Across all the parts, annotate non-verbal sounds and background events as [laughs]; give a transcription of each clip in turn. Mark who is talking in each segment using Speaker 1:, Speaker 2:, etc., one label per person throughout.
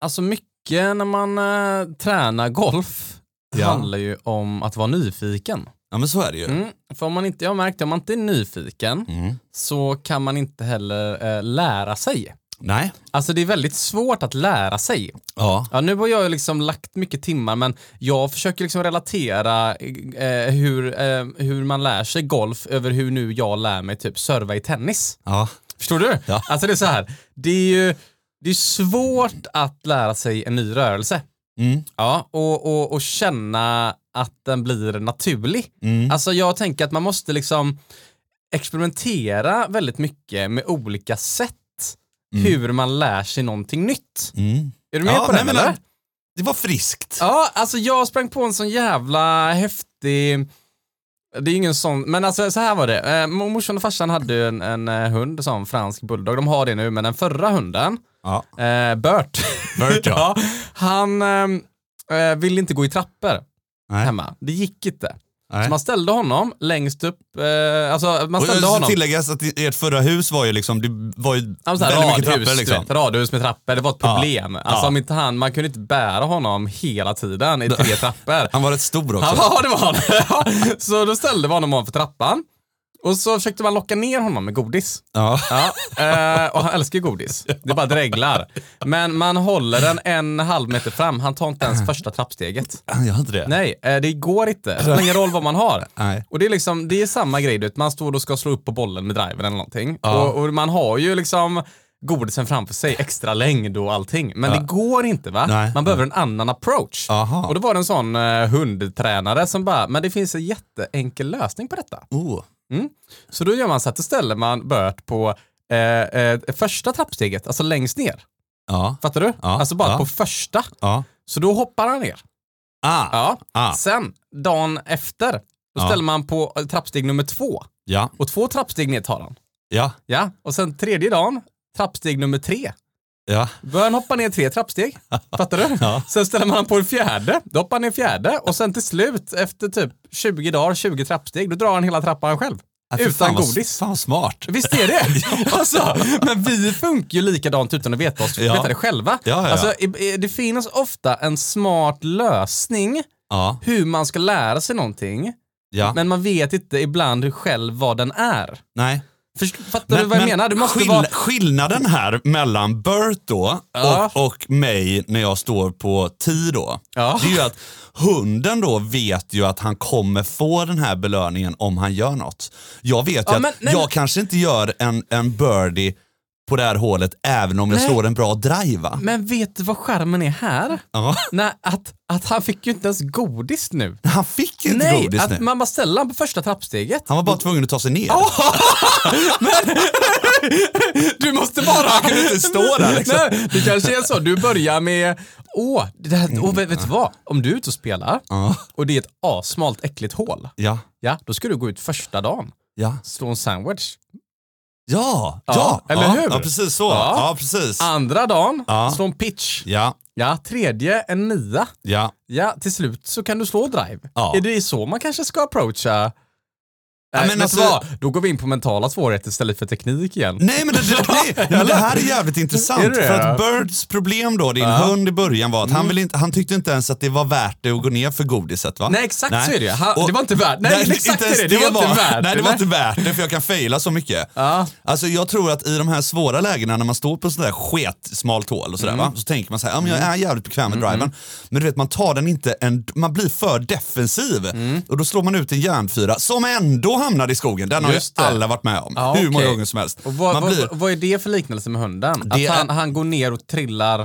Speaker 1: Alltså mycket när man eh, tränar golf
Speaker 2: Ja.
Speaker 1: handlar ju om att vara nyfiken.
Speaker 2: Ja men så är det ju.
Speaker 1: Mm. För om man inte, jag har märkt det, om man inte är nyfiken
Speaker 2: Mm.
Speaker 1: så kan man inte heller eh, lära sig.
Speaker 2: Nej.
Speaker 1: Alltså det är väldigt svårt att lära sig.
Speaker 2: Ja.
Speaker 1: Ja, nu har jag ju liksom lagt mycket timmar men jag försöker liksom relatera eh, hur, eh, hur man lär sig golf över hur nu jag lär mig typ serva i tennis.
Speaker 2: Ja.
Speaker 1: Förstår du?
Speaker 2: Ja.
Speaker 1: Alltså det är så här, det är ju det är svårt att lära sig en ny rörelse.
Speaker 2: Mm.
Speaker 1: Ja, och, och, och känna att den blir naturlig.
Speaker 2: Mm.
Speaker 1: Alltså jag tänker att man måste liksom experimentera väldigt mycket med olika sätt hur man lär sig någonting nytt.
Speaker 2: Mm.
Speaker 1: Är du med på det?
Speaker 2: nej, men
Speaker 1: eller?
Speaker 2: Det var friskt.
Speaker 1: Ja, alltså jag sprang på en sån jävla häftig det är ingen sån, men alltså så här var det. Eh, morsan och farsan hade ju en, en eh, hund som fransk bulldog. De har det nu, men den förra hunden,
Speaker 2: Ja.
Speaker 1: eh, Bert, [laughs]
Speaker 2: Bert, ja.
Speaker 1: ja, han eh, eh, ville inte gå i trappor
Speaker 2: Nej.
Speaker 1: hemma. Det gick inte.
Speaker 2: Nej.
Speaker 1: Så man ställde honom längst upp, eh, alltså man
Speaker 2: Och jag
Speaker 1: ställde
Speaker 2: ska
Speaker 1: honom.
Speaker 2: tilläggas att i- ert förra hus var ju liksom, det var ju
Speaker 1: Ja, men så här,
Speaker 2: väldigt mycket
Speaker 1: radhus, typ. du
Speaker 2: trappor liksom.
Speaker 1: vet, radhus med trappor, det var ett
Speaker 2: Ja.
Speaker 1: problem. Alltså
Speaker 2: Ja.
Speaker 1: om inte han, man kunde inte bära honom hela tiden i tre trappor.
Speaker 2: Han var rätt stor också.
Speaker 1: Ja, det var han. [laughs] Ja. så då ställde vi honom ovanför trappan. Och så försökte man locka ner honom med godis.
Speaker 2: Ja.
Speaker 1: Ja, eh, och han älskar ju godis. Det bara dreglar. Men man håller den en halv meter fram. Han tar inte
Speaker 2: [laughs]
Speaker 1: ens första trappsteget.
Speaker 2: Han gör inte det?
Speaker 1: Nej, eh, det går inte. Det spelar ingen roll vad man
Speaker 2: [laughs]
Speaker 1: har.
Speaker 2: Nej.
Speaker 1: Och det är, liksom, det är samma grej, du vet. man står och ska slå upp på bollen med driven eller någonting.
Speaker 2: Ja.
Speaker 1: Och, och man har ju liksom godisen framför sig, extra längd och allting. Men det går inte va?
Speaker 2: Nej.
Speaker 1: Man behöver en annan approach.
Speaker 2: Aha.
Speaker 1: Och då var det en sån eh, hundtränare som bara, men det finns en jätteenkel lösning på detta.
Speaker 2: Oh.
Speaker 1: Så då gör man så att då ställer man Bert på eh, eh, första trappsteget, alltså längst ner.
Speaker 2: Ja.
Speaker 1: Fattar du?
Speaker 2: Ja,
Speaker 1: Alltså bara
Speaker 2: ja.
Speaker 1: på första.
Speaker 2: Ja.
Speaker 1: Så då hoppar han ner.
Speaker 2: Ah. Ja.
Speaker 1: Ja.
Speaker 2: Ah.
Speaker 1: Sen, dagen efter, då
Speaker 2: Ja.
Speaker 1: ställer man på eh, trappsteg nummer två.
Speaker 2: Ja.
Speaker 1: Och två trappsteg ner tar han.
Speaker 2: Ja.
Speaker 1: Ja, och sen tredje dagen, trappsteg nummer tre.
Speaker 2: Ja.
Speaker 1: Börjar han hoppa ner tre
Speaker 2: [laughs]
Speaker 1: trappsteg. Fattar du?
Speaker 2: Ja.
Speaker 1: Sen ställer man han på en fjärde, då hoppar han ner fjärde och sen till slut efter typ 20 dagar, 20 trappsteg, då drar han hela trappan själv.
Speaker 2: Ja, fy
Speaker 1: utan
Speaker 2: fan vad-
Speaker 1: godis.
Speaker 2: Fan vad smart.
Speaker 1: Visst är
Speaker 2: [laughs]
Speaker 1: det? [laughs] alltså, men vi funkar ju likadant utan att veta, oss,
Speaker 2: Ja.
Speaker 1: veta det själva.
Speaker 2: Ja, ja, ja.
Speaker 1: Alltså, i- i- det finns ofta en smart lösning
Speaker 2: Ja.
Speaker 1: hur man ska lära sig någonting,
Speaker 2: Ja.
Speaker 1: men man vet inte ibland själv vad den är.
Speaker 2: Nej.
Speaker 1: Först- Fattar du vad jag menar? Du måste
Speaker 2: skill-
Speaker 1: vara...
Speaker 2: Skillnaden här mellan Bert då
Speaker 1: Ja.
Speaker 2: och, och mig när jag står på 10 då.
Speaker 1: Ja.
Speaker 2: Det är ju att hunden då vet ju att han kommer få den här belöningen om han gör något. Jag vet ju
Speaker 1: Ja,
Speaker 2: att
Speaker 1: men- nej,
Speaker 2: jag
Speaker 1: men-
Speaker 2: kanske inte gör en, en birdie på det här hålet även om jag
Speaker 1: Nej.
Speaker 2: slår en bra drive va?
Speaker 1: Men vet du vad skärmen är här?
Speaker 2: Ja.
Speaker 1: Nej, att, att han fick ju inte ens godis nu.
Speaker 2: Han fick ju inte
Speaker 1: Nej,
Speaker 2: godis
Speaker 1: att
Speaker 2: nu.
Speaker 1: man bara ställer honom på första trappsteget.
Speaker 2: Han var bara tvungen att ta sig ner.
Speaker 1: Du måste bara... Han
Speaker 2: kunde inte stå där, liksom. Mm.
Speaker 1: Nej, det kanske är så, du börjar med... Åh, det här, åh vet, vet du vad? Om du är ute och spelar
Speaker 2: Ja.
Speaker 1: och det är ett asmalt äckligt hål,
Speaker 2: Ja.
Speaker 1: ja, då ska du gå ut första dagen,
Speaker 2: Ja.
Speaker 1: slå en sandwich.
Speaker 2: Ja. Ja.
Speaker 1: Ja, eller
Speaker 2: ja.
Speaker 1: hur?
Speaker 2: Ja, precis så.
Speaker 1: Ja. Ah.
Speaker 2: Ja, precis.
Speaker 1: Andra dagen,
Speaker 2: Ja.
Speaker 1: slå en pitch.
Speaker 2: Ja.
Speaker 1: Ja, tredje en nia.
Speaker 2: Ja.
Speaker 1: Ja, till slut så kan du slå drive.
Speaker 2: Ja.
Speaker 1: Är det så man kanske ska approacha? Nej,
Speaker 2: men
Speaker 1: men
Speaker 2: alltså- Mm.
Speaker 1: vad? Då går vi in på mentala svårigheter istället för teknik igen.
Speaker 2: Nej men det,
Speaker 1: [laughs]
Speaker 2: det, nej, nej, men det här är jävligt intressant.
Speaker 1: Är det det? Mm.
Speaker 2: För att Birds problem då, din hund i början var att han, ville inte, han tyckte inte ens att det var värt det att gå ner för godiset va?
Speaker 1: Nej, exakt
Speaker 2: Nej.
Speaker 1: så är det ju. Han- det var inte värt-
Speaker 2: [laughs]
Speaker 1: nej, exakt
Speaker 2: inte ens
Speaker 1: är det. Det var inte värt
Speaker 2: Nej det
Speaker 1: det,
Speaker 2: var
Speaker 1: nej.
Speaker 2: inte värt det för jag kan fejla så mycket.
Speaker 1: Ja.
Speaker 2: Alltså jag tror att i de här svåra lägena när man står på sådär sketsmalt hål och sådär va,
Speaker 1: Mm.
Speaker 2: så tänker man så här, ja men jag är jävligt bekväm med driven. Men du vet man tar den inte, en, man blir för defensiv
Speaker 1: Mm.
Speaker 2: och då slår man ut en järnfyra som ändå hamnar i skogen. Den har ju
Speaker 1: Just det.
Speaker 2: alla varit med om,
Speaker 1: Ja,
Speaker 2: hur många
Speaker 1: okej.
Speaker 2: gånger som helst.
Speaker 1: Och vad,
Speaker 2: man
Speaker 1: vad,
Speaker 2: blir-
Speaker 1: vad är det för liknelse med hunden?
Speaker 2: Det
Speaker 1: Att han,
Speaker 2: är-
Speaker 1: han går ner och trillar.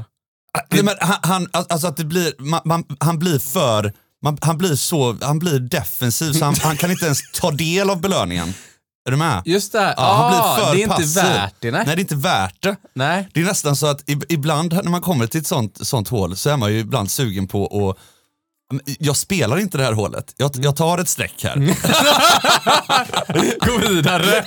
Speaker 2: Nej, men han, han, alltså att det blir, man, man, han blir för, man, han blir så, han blir defensiv så han, han kan inte ens ta del av belöningen. Är du med?
Speaker 1: Just det, här.
Speaker 2: Ja, han
Speaker 1: Ah,
Speaker 2: blir för
Speaker 1: det är inte
Speaker 2: passiv.
Speaker 1: värt det. Nej.
Speaker 2: Nej, det är inte värt det.
Speaker 1: nej. [laughs]
Speaker 2: Det är nästan så att ib- ibland när man kommer till ett sånt, sånt hål så är man ju ibland sugen på att Men jag spelar inte det här hålet. Jag, jag tar ett streck här.
Speaker 1: Gå
Speaker 2: [laughs]
Speaker 1: vidare.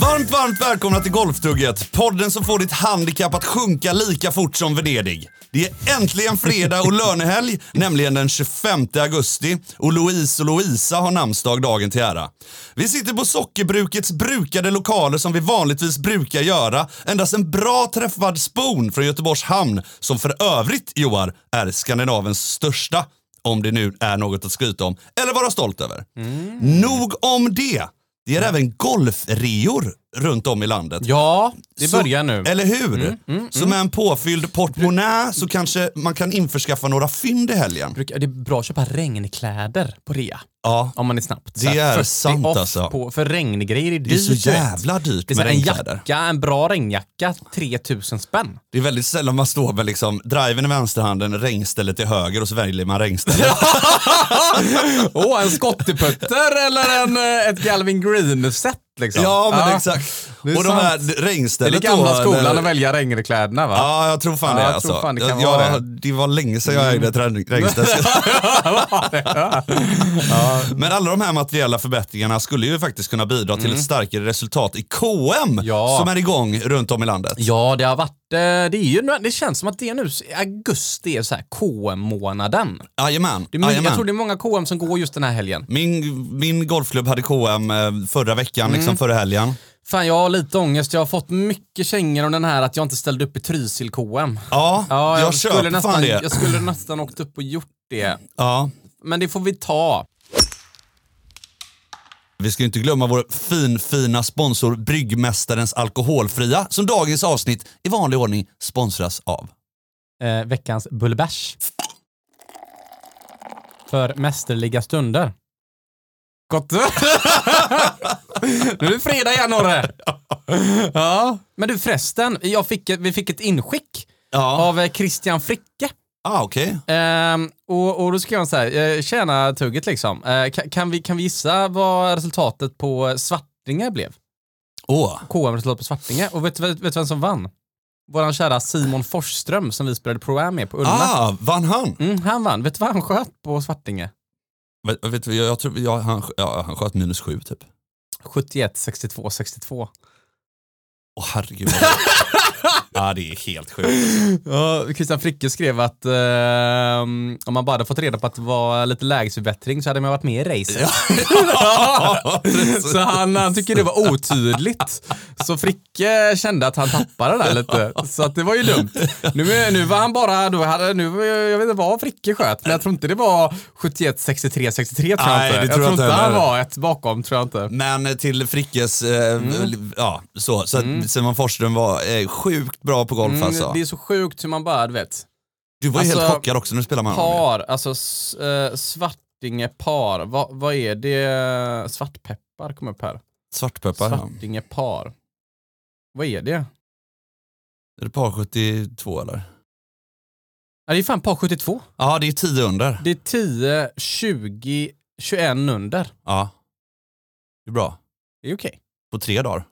Speaker 2: Varmt, varmt välkomna till Golftugget. Podden som får ditt handikapp att sjunka lika fort som Venedig. Det är äntligen fredag och lönehelg, nämligen den 25 augusti. Och Louise och Louisa har namnsdag dagen till ära. Vi sitter på Sockerbrukets brukade lokaler som vi vanligtvis brukar göra. Endast en bra träffad spon från Göteborgs hamn, som för övrigt, Joar, är Skandinavens största. Om det nu är något att skryta om, eller vara stolt över. Nog om det. Det är
Speaker 1: Mm.
Speaker 2: även golfreor runt om i landet.
Speaker 1: Ja, det
Speaker 2: Så- Eh.
Speaker 1: börjar nu. Mm,
Speaker 2: Eller hur? så med en påfylld portmonnä så kanske man kan införskaffa några fynd i helgen.
Speaker 1: Brukar- Det är bra att köpa regnkläder på rea.
Speaker 2: Ja,
Speaker 1: Om man är snabbt.
Speaker 2: Det är
Speaker 1: 40
Speaker 2: sant,
Speaker 1: off
Speaker 2: alltså.
Speaker 1: På, för regngrejer är dyrt.
Speaker 2: det är så
Speaker 1: du vet.
Speaker 2: jävla dyrt
Speaker 1: Det är så
Speaker 2: med
Speaker 1: här, en
Speaker 2: regnkläder.
Speaker 1: jacka, en bra regnjacka, 3000 spänn.
Speaker 2: Det är väldigt sällan man står med liksom, driven i vänsterhanden, regnstället i höger och så väljer
Speaker 1: [laughs]
Speaker 2: man regnstället.
Speaker 1: Åh, en skotteputter eller en, eh, ett Galvin Green-set liksom.
Speaker 2: ja, men exakt.
Speaker 1: det är
Speaker 2: och de här
Speaker 1: sant.
Speaker 2: regnstället
Speaker 1: Det är det
Speaker 2: då,
Speaker 1: gamla skolan
Speaker 2: eller-
Speaker 1: att välja regnkläderna va?
Speaker 2: Ja, jag tror fan
Speaker 1: Ja,
Speaker 2: det
Speaker 1: jag
Speaker 2: alltså.
Speaker 1: tror fan det Mm. kan
Speaker 2: jag,
Speaker 1: vara
Speaker 2: det var länge sedan jag ägde ett regn-
Speaker 1: [laughs]
Speaker 2: regnställ. Men alla de här materiella förbättringarna skulle ju faktiskt kunna bidra till ett starkare resultat i KM
Speaker 1: Mm. Ja.
Speaker 2: som är igång runt om i landet.
Speaker 1: Ja, det har varit, eh, det, är ju, nu- det känns som att det nu, augusti är så här KM-månaden.
Speaker 2: Jajamän.
Speaker 1: Det är mycket- Jag
Speaker 2: jajamän.
Speaker 1: tror det är många KM som går just den här helgen.
Speaker 2: Min, min golfklubb hade KM eh, förra veckan,
Speaker 1: Mm.
Speaker 2: liksom förra helgen.
Speaker 1: Fan, jag har lite ångest. Jag har fått mycket kängor om den här att jag inte ställde upp i Trysil-KM.
Speaker 2: Ja,
Speaker 1: Ja,
Speaker 2: jag,
Speaker 1: jag,
Speaker 2: köper
Speaker 1: skulle nästan,
Speaker 2: fan det.
Speaker 1: jag skulle nästan åkt upp och gjort det.
Speaker 2: Ja.
Speaker 1: Men det får vi ta.
Speaker 2: Vi ska ju inte glömma vår fin, fina sponsor Bryggmästarens Alkoholfria som dagens avsnitt i vanlig ordning sponsras av.
Speaker 1: Eh, veckans bullbärs. För mästerliga stunder. Gott! [laughs] nu är det fredag igen Norre! Ja. Men du förresten, jag fick, ett- vi fick ett inskick
Speaker 2: Ja,
Speaker 1: av eh, Christian Fricke.
Speaker 2: ah, okej.
Speaker 1: Ehm, och, och då skrev han så här, eh, tjena tugget liksom. Eh, kan, kan, vi, kan vi gissa vad resultatet på Svartinge blev?
Speaker 2: Åh,
Speaker 1: KM-resultat på Svartinge. Och vet, vet, vet du vem som vann? Våran kära Simon Forsström som vi spelade Pro-Am med på Ullna.
Speaker 2: ah, vann han?
Speaker 1: Mm, han vann. Vet du vad han sköt på Svartinge?
Speaker 2: Vet, vet, du, jag, jag tror, jag, han, ja, han sköt minus sju typ.
Speaker 1: 71, 62, 62.
Speaker 2: Åh herregud. [laughs] ja, det är helt sjukt.
Speaker 1: Ja, Christian Fricke skrev att ehm, om man bara hade fått reda på att det var lite lägesförbättring så hade man varit med i racet. [laughs] så han, han tycker det var otydligt. Så Fricke kände att han tappade det där lite. Så att det var ju dumt. Nu, nu var han bara, nu, hade, nu, jag vet inte vad Fricke sköt, men jag tror inte det var 71, 63, 63 tror
Speaker 2: Nej,
Speaker 1: jag
Speaker 2: det
Speaker 1: inte. Jag
Speaker 2: tror jag
Speaker 1: tror inte
Speaker 2: inte
Speaker 1: han
Speaker 2: heller.
Speaker 1: var ett bakom, tror jag inte.
Speaker 2: Men eh, till Frickes, eh, ja så, så att Simon Forsström var eh, sjukt bra på golf alltså.
Speaker 1: Mm, det är så sjukt hur man bara, du vet.
Speaker 2: Du var ju helt
Speaker 1: alltså,
Speaker 2: chockad också när du spelade med honom.
Speaker 1: Par, alltså s- eh, Svartinge par. Va, vad är det? Svartpeppar kom upp här.
Speaker 2: Svartpeppar. ja.
Speaker 1: Svartinge par. Vad är det?
Speaker 2: Är det par 72 eller?
Speaker 1: Ja, det är fan par 72.
Speaker 2: Ja, det är 10 under.
Speaker 1: Det är 10, 20, 21 under.
Speaker 2: Ja. Det är bra.
Speaker 1: Det är okej.
Speaker 2: På tre dagar.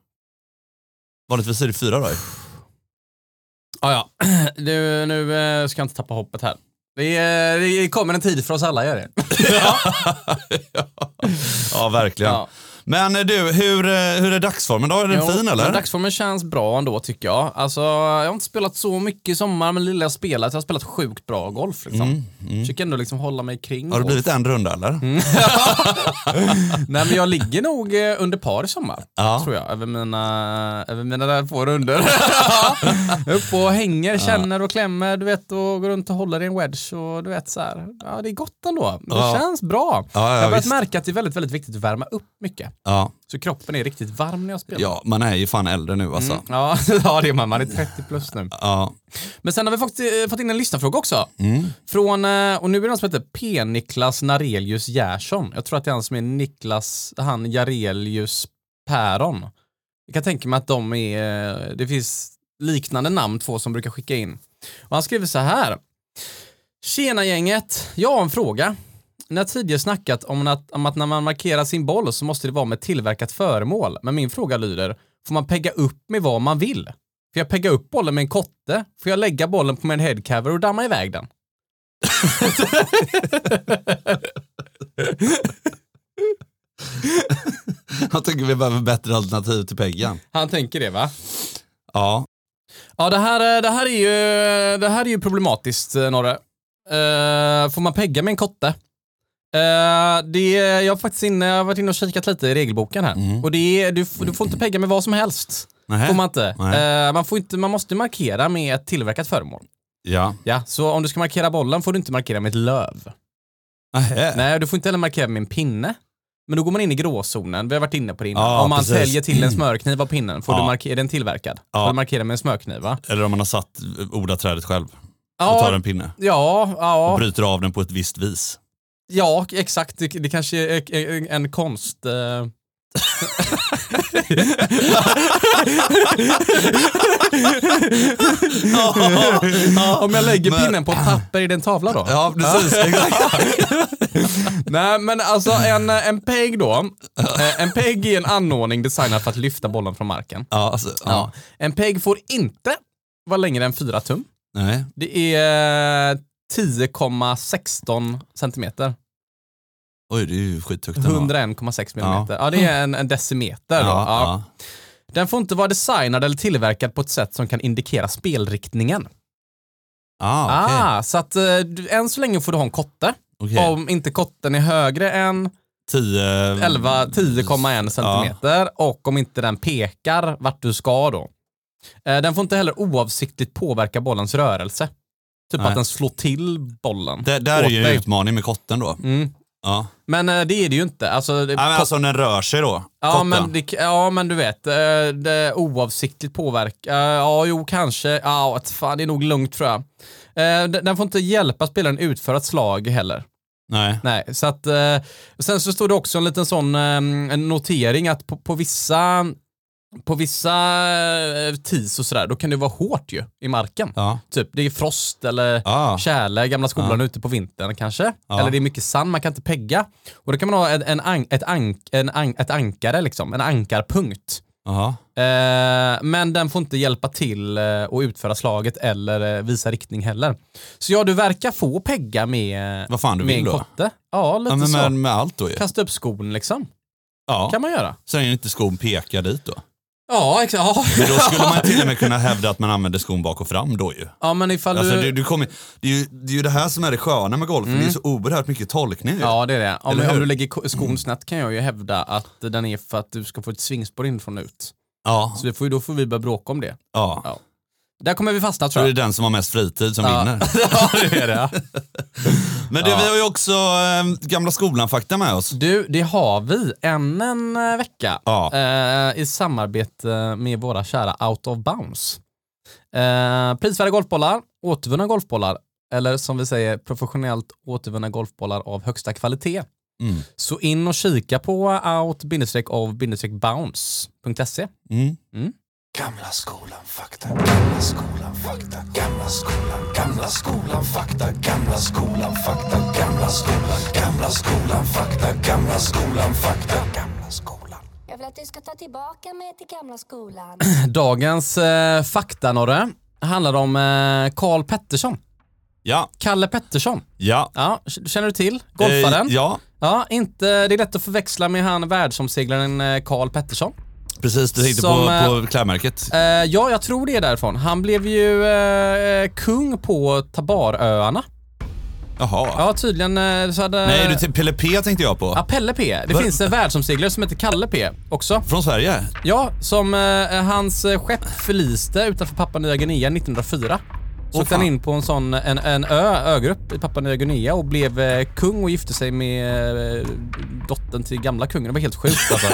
Speaker 2: Vanligtvis är det fyra dagar.
Speaker 1: Ah, ja. [clears throat] Du, nu eh, ska jag inte tappa hoppet här. Det, är, det kommer en tid för oss alla, gör det.
Speaker 2: Ja, verkligen.
Speaker 1: Ja.
Speaker 2: Men eh, du, hur, eh, hur är dagsformen då? Är den
Speaker 1: Jo,
Speaker 2: fin eller?
Speaker 1: men Dagsformen känns bra ändå tycker jag. Alltså, jag har inte spelat så mycket i sommar, men lilla jag spelat, jag har spelat sjukt bra golf. Liksom. Försöker ändå liksom hålla mig kring
Speaker 2: Mm, Har det
Speaker 1: golf.
Speaker 2: blivit en runda eller?
Speaker 1: Mm. Nej men jag ligger nog eh, under par i sommar.
Speaker 2: Ja.
Speaker 1: Tror jag, över mina, över mina där två
Speaker 2: [laughs]
Speaker 1: runder. Upp och hänger, känner och klämmer, du vet, och går runt och håller i en wedge och du vet så här. Ja, det är gott ändå. Det
Speaker 2: Ja.
Speaker 1: känns bra.
Speaker 2: Ja, ja,
Speaker 1: jag har börjat
Speaker 2: visst.
Speaker 1: märka att det är väldigt, väldigt viktigt att värma upp mycket.
Speaker 2: Ja.
Speaker 1: Så kroppen är riktigt varm när jag spelar.
Speaker 2: ja, man är ju fan äldre nu alltså.
Speaker 1: Ja, [laughs] ja, det är man. Man är 30 plus nu.
Speaker 2: Ja. [laughs]
Speaker 1: Men sen har vi fått, eh, fått in en lyssnarfråga också. Från, eh, och nu är det någon som heter P-Niklas Narelius Järsson. Jag tror att det är han som är Niklas, han Jarelius Päron. Jag kan tänka mig att de är, eh, det finns liknande namn, två som brukar skicka in. Och han skriver så här. Tjena gänget, jag har en fråga. Ni har tidigare snackat om att, om att när man markerar sin boll så måste det vara med tillverkat föremål. Men min fråga lyder, får man pegga upp med vad man vill? Får jag pegga upp bollen med en kotte? Får jag lägga bollen på min headcover och damma iväg den?
Speaker 2: Jag tänker vi behöver bättre alternativ till Peggan.
Speaker 1: Han tänker det va?
Speaker 2: Ja.
Speaker 1: Ja, det här, är- det här, är, ju, eh, det här är ju problematiskt, eh, Norre. Eh, får man pegga med en kotte? Eh, det, jag, har faktiskt inne, jag har varit inne och kikat lite i regelboken här. Och det är, du, f- du får inte pegga med vad som helst.
Speaker 2: Nähä.
Speaker 1: Får man inte.
Speaker 2: Nej.
Speaker 1: Eh, man, får inte man måste markera med ett tillverkat föremål.
Speaker 2: Ja.
Speaker 1: Ja, så om du ska markera bollen får du inte markera med ett löv.
Speaker 2: Nähä.
Speaker 1: Nej, du får inte heller markera med en pinne. Men då går man in i gråzonen, vi har varit inne på det innan.
Speaker 2: Ja,
Speaker 1: Om man
Speaker 2: precis. Mm.
Speaker 1: säljer till en smörkniv av pinnen, får du
Speaker 2: Ja.
Speaker 1: markera, är den tillverkad?
Speaker 2: Ja.
Speaker 1: Får du markera med en smörkniv va?
Speaker 2: Eller om man har satt eh, odlarträdet själv och
Speaker 1: Ja,
Speaker 2: tar en pinne
Speaker 1: ja, ja.
Speaker 2: och bryter av den på ett
Speaker 1: [laughs]
Speaker 2: visst vis.
Speaker 1: Ja, exakt. Det, det kanske är är en konst... eh. Om jag lägger
Speaker 2: men- [clears throat]
Speaker 1: pinnen på ett papper, är det en tavla då?
Speaker 2: Ja, precis. Exakt.
Speaker 1: Nej, men alltså
Speaker 2: [clears throat]
Speaker 1: en, en peg då. Eh, En peg är en anordning designad för att lyfta bollen från marken.
Speaker 2: Ja, alltså, ja.
Speaker 1: En peg får inte vara längre än 4 tum.
Speaker 2: Nej.
Speaker 1: Det är 10,16 centimeter.
Speaker 2: Oj, det är ju skithögt. ändå.
Speaker 1: 101,6 millimeter. Ja, det är en, en decimeter.
Speaker 2: Ja,
Speaker 1: Då. Ja.
Speaker 2: ja.
Speaker 1: Den får inte vara designad eller tillverkad på ett sätt som kan indikera spelriktningen.
Speaker 2: Ah, okej.
Speaker 1: Ah, så att eh, du, än så länge får du ha en kotte.
Speaker 2: Okej.
Speaker 1: Om inte kotten är högre än
Speaker 2: 10...
Speaker 1: 11 10,1 centimeter och om inte den pekar vart du ska då. Eh, Den får inte heller oavsiktligt påverka bollens rörelse. Typ
Speaker 2: Nej.
Speaker 1: att den slår till bollen.
Speaker 2: Det där är
Speaker 1: åt
Speaker 2: ju en
Speaker 1: dig.
Speaker 2: utmaning med kotten då.
Speaker 1: Mm.
Speaker 2: Ja.
Speaker 1: Men eh, det är det ju inte. Alltså, det,
Speaker 2: Ja, men alltså om den rör sig då,
Speaker 1: Ja
Speaker 2: kotten.
Speaker 1: men, det, ja men du vet, eh, det oavsiktligt påverkar. eh, Ja jo kanske, ja vad fan det är nog lugnt tror jag. Eh, Den den får inte hjälpa spelaren utföra ett slag heller.
Speaker 2: Nej.
Speaker 1: Nej, så att, eh, sen så står det också en liten sån eh, en notering att på, på vissa på vissa eh, tis och sådär, då kan det vara hårt ju i marken.
Speaker 2: Ja.
Speaker 1: Typ, det är frost eller
Speaker 2: Ja.
Speaker 1: tjäle, gamla skolan ute på vintern kanske.
Speaker 2: Ja.
Speaker 1: Eller det är mycket sand, man kan inte pegga. Och då kan man ha en, en, an, ett, ank, en an, ett ankare, liksom, en ankarpunkt.
Speaker 2: Jaha.
Speaker 1: Eh, men den får inte hjälpa till eh, att utföra slaget eller eh, visa riktning heller. Så ja, du verkar få pegga med,
Speaker 2: Vad fan du
Speaker 1: med
Speaker 2: vill
Speaker 1: en
Speaker 2: då.
Speaker 1: kotte. Ja, lite
Speaker 2: Ja, men
Speaker 1: så.
Speaker 2: med, med allt då ju.
Speaker 1: Kasta upp skon liksom.
Speaker 2: Ja.
Speaker 1: kan man göra.
Speaker 2: Så länge inte skon pekar dit då.
Speaker 1: Ja, exakt. [laughs] Ja.
Speaker 2: Men då skulle man till och med kunna hävda att man använder skon bak och fram då ju.
Speaker 1: ja, men ifall
Speaker 2: Alltså,
Speaker 1: du... Mm.
Speaker 2: du, du kommer, det, är ju, det är ju det här som är det sköna med golfen, det är så oerhört mycket tolkning. ju.
Speaker 1: Ja, det är det. Om,
Speaker 2: Eller hur?
Speaker 1: om du lägger ko- skon snett kan jag ju hävda att den är för att du ska få ett svingspår inifrån och ut.
Speaker 2: ja.
Speaker 1: Så vi får, ju- då får vi börja bråka om det.
Speaker 2: ja.
Speaker 1: Där kommer vi fastna
Speaker 2: Då är
Speaker 1: tror
Speaker 2: det
Speaker 1: jag.
Speaker 2: den som har mest fritid som
Speaker 1: Ja.
Speaker 2: vinner.
Speaker 1: Ja, det [laughs] är det.
Speaker 2: Men du,
Speaker 1: Ja.
Speaker 2: vi har ju också eh, gamla skolan-fakta med oss.
Speaker 1: Du, det har vi än en eh, vecka
Speaker 2: Ja.
Speaker 1: eh, i samarbete med våra kära Out of Bounds. Eh, prisvärda golfbollar, återvunna golfbollar eller som vi säger professionellt återvunna golfbollar av högsta kvalitet.
Speaker 2: Mm.
Speaker 1: Så in och kika på out-of-bounds.se.
Speaker 2: Mm.
Speaker 3: Gamla skolan fakta, gamla skolan fakta, gamla skolan, gamla skolan fakta, gamla skolan fakta, gamla skolan, gamla skolan fakta, gamla skolan fakta, gamla skolan.
Speaker 4: Jag vill att du ska ta tillbaka mig till gamla skolan.
Speaker 1: Dagens eh, fakta, Norre, handlar om eh, Karl Pettersson.
Speaker 2: Ja,
Speaker 1: Kalle Pettersson.
Speaker 2: ja.
Speaker 1: Ja, k- känner du till? Golfaren.
Speaker 2: Eh, ja,
Speaker 1: Ja, inte, det är lätt att förväxla med han världsomseglaren eh, Karl Pettersson.
Speaker 2: precis. Du tänkte
Speaker 1: Som, eh,
Speaker 2: på, på klädmärket.
Speaker 1: Eh, ja, jag tror det är därifrån. Han blev ju eh, kung på Tabaröarna.
Speaker 2: Jaha.
Speaker 1: Ja, tydligen eh, så hade...
Speaker 2: Nej, du, till Pelle P tänkte jag på.
Speaker 1: Ja, Pelle P. Det
Speaker 2: Va-
Speaker 1: finns en världsomseglare som heter Kalle P också.
Speaker 2: Från Sverige?
Speaker 1: Ja, som eh, hans eh, skepp förliste utanför Papua Nya Guinea 1904. Så
Speaker 2: Åh,
Speaker 1: åkte han
Speaker 2: fan.
Speaker 1: in på en sån en, en ö, ögrupp i Papua Nya Guinea och blev eh, kung och gifte sig med eh, dottern till gamla kungen. Det var helt sjukt
Speaker 2: [laughs]
Speaker 1: alltså.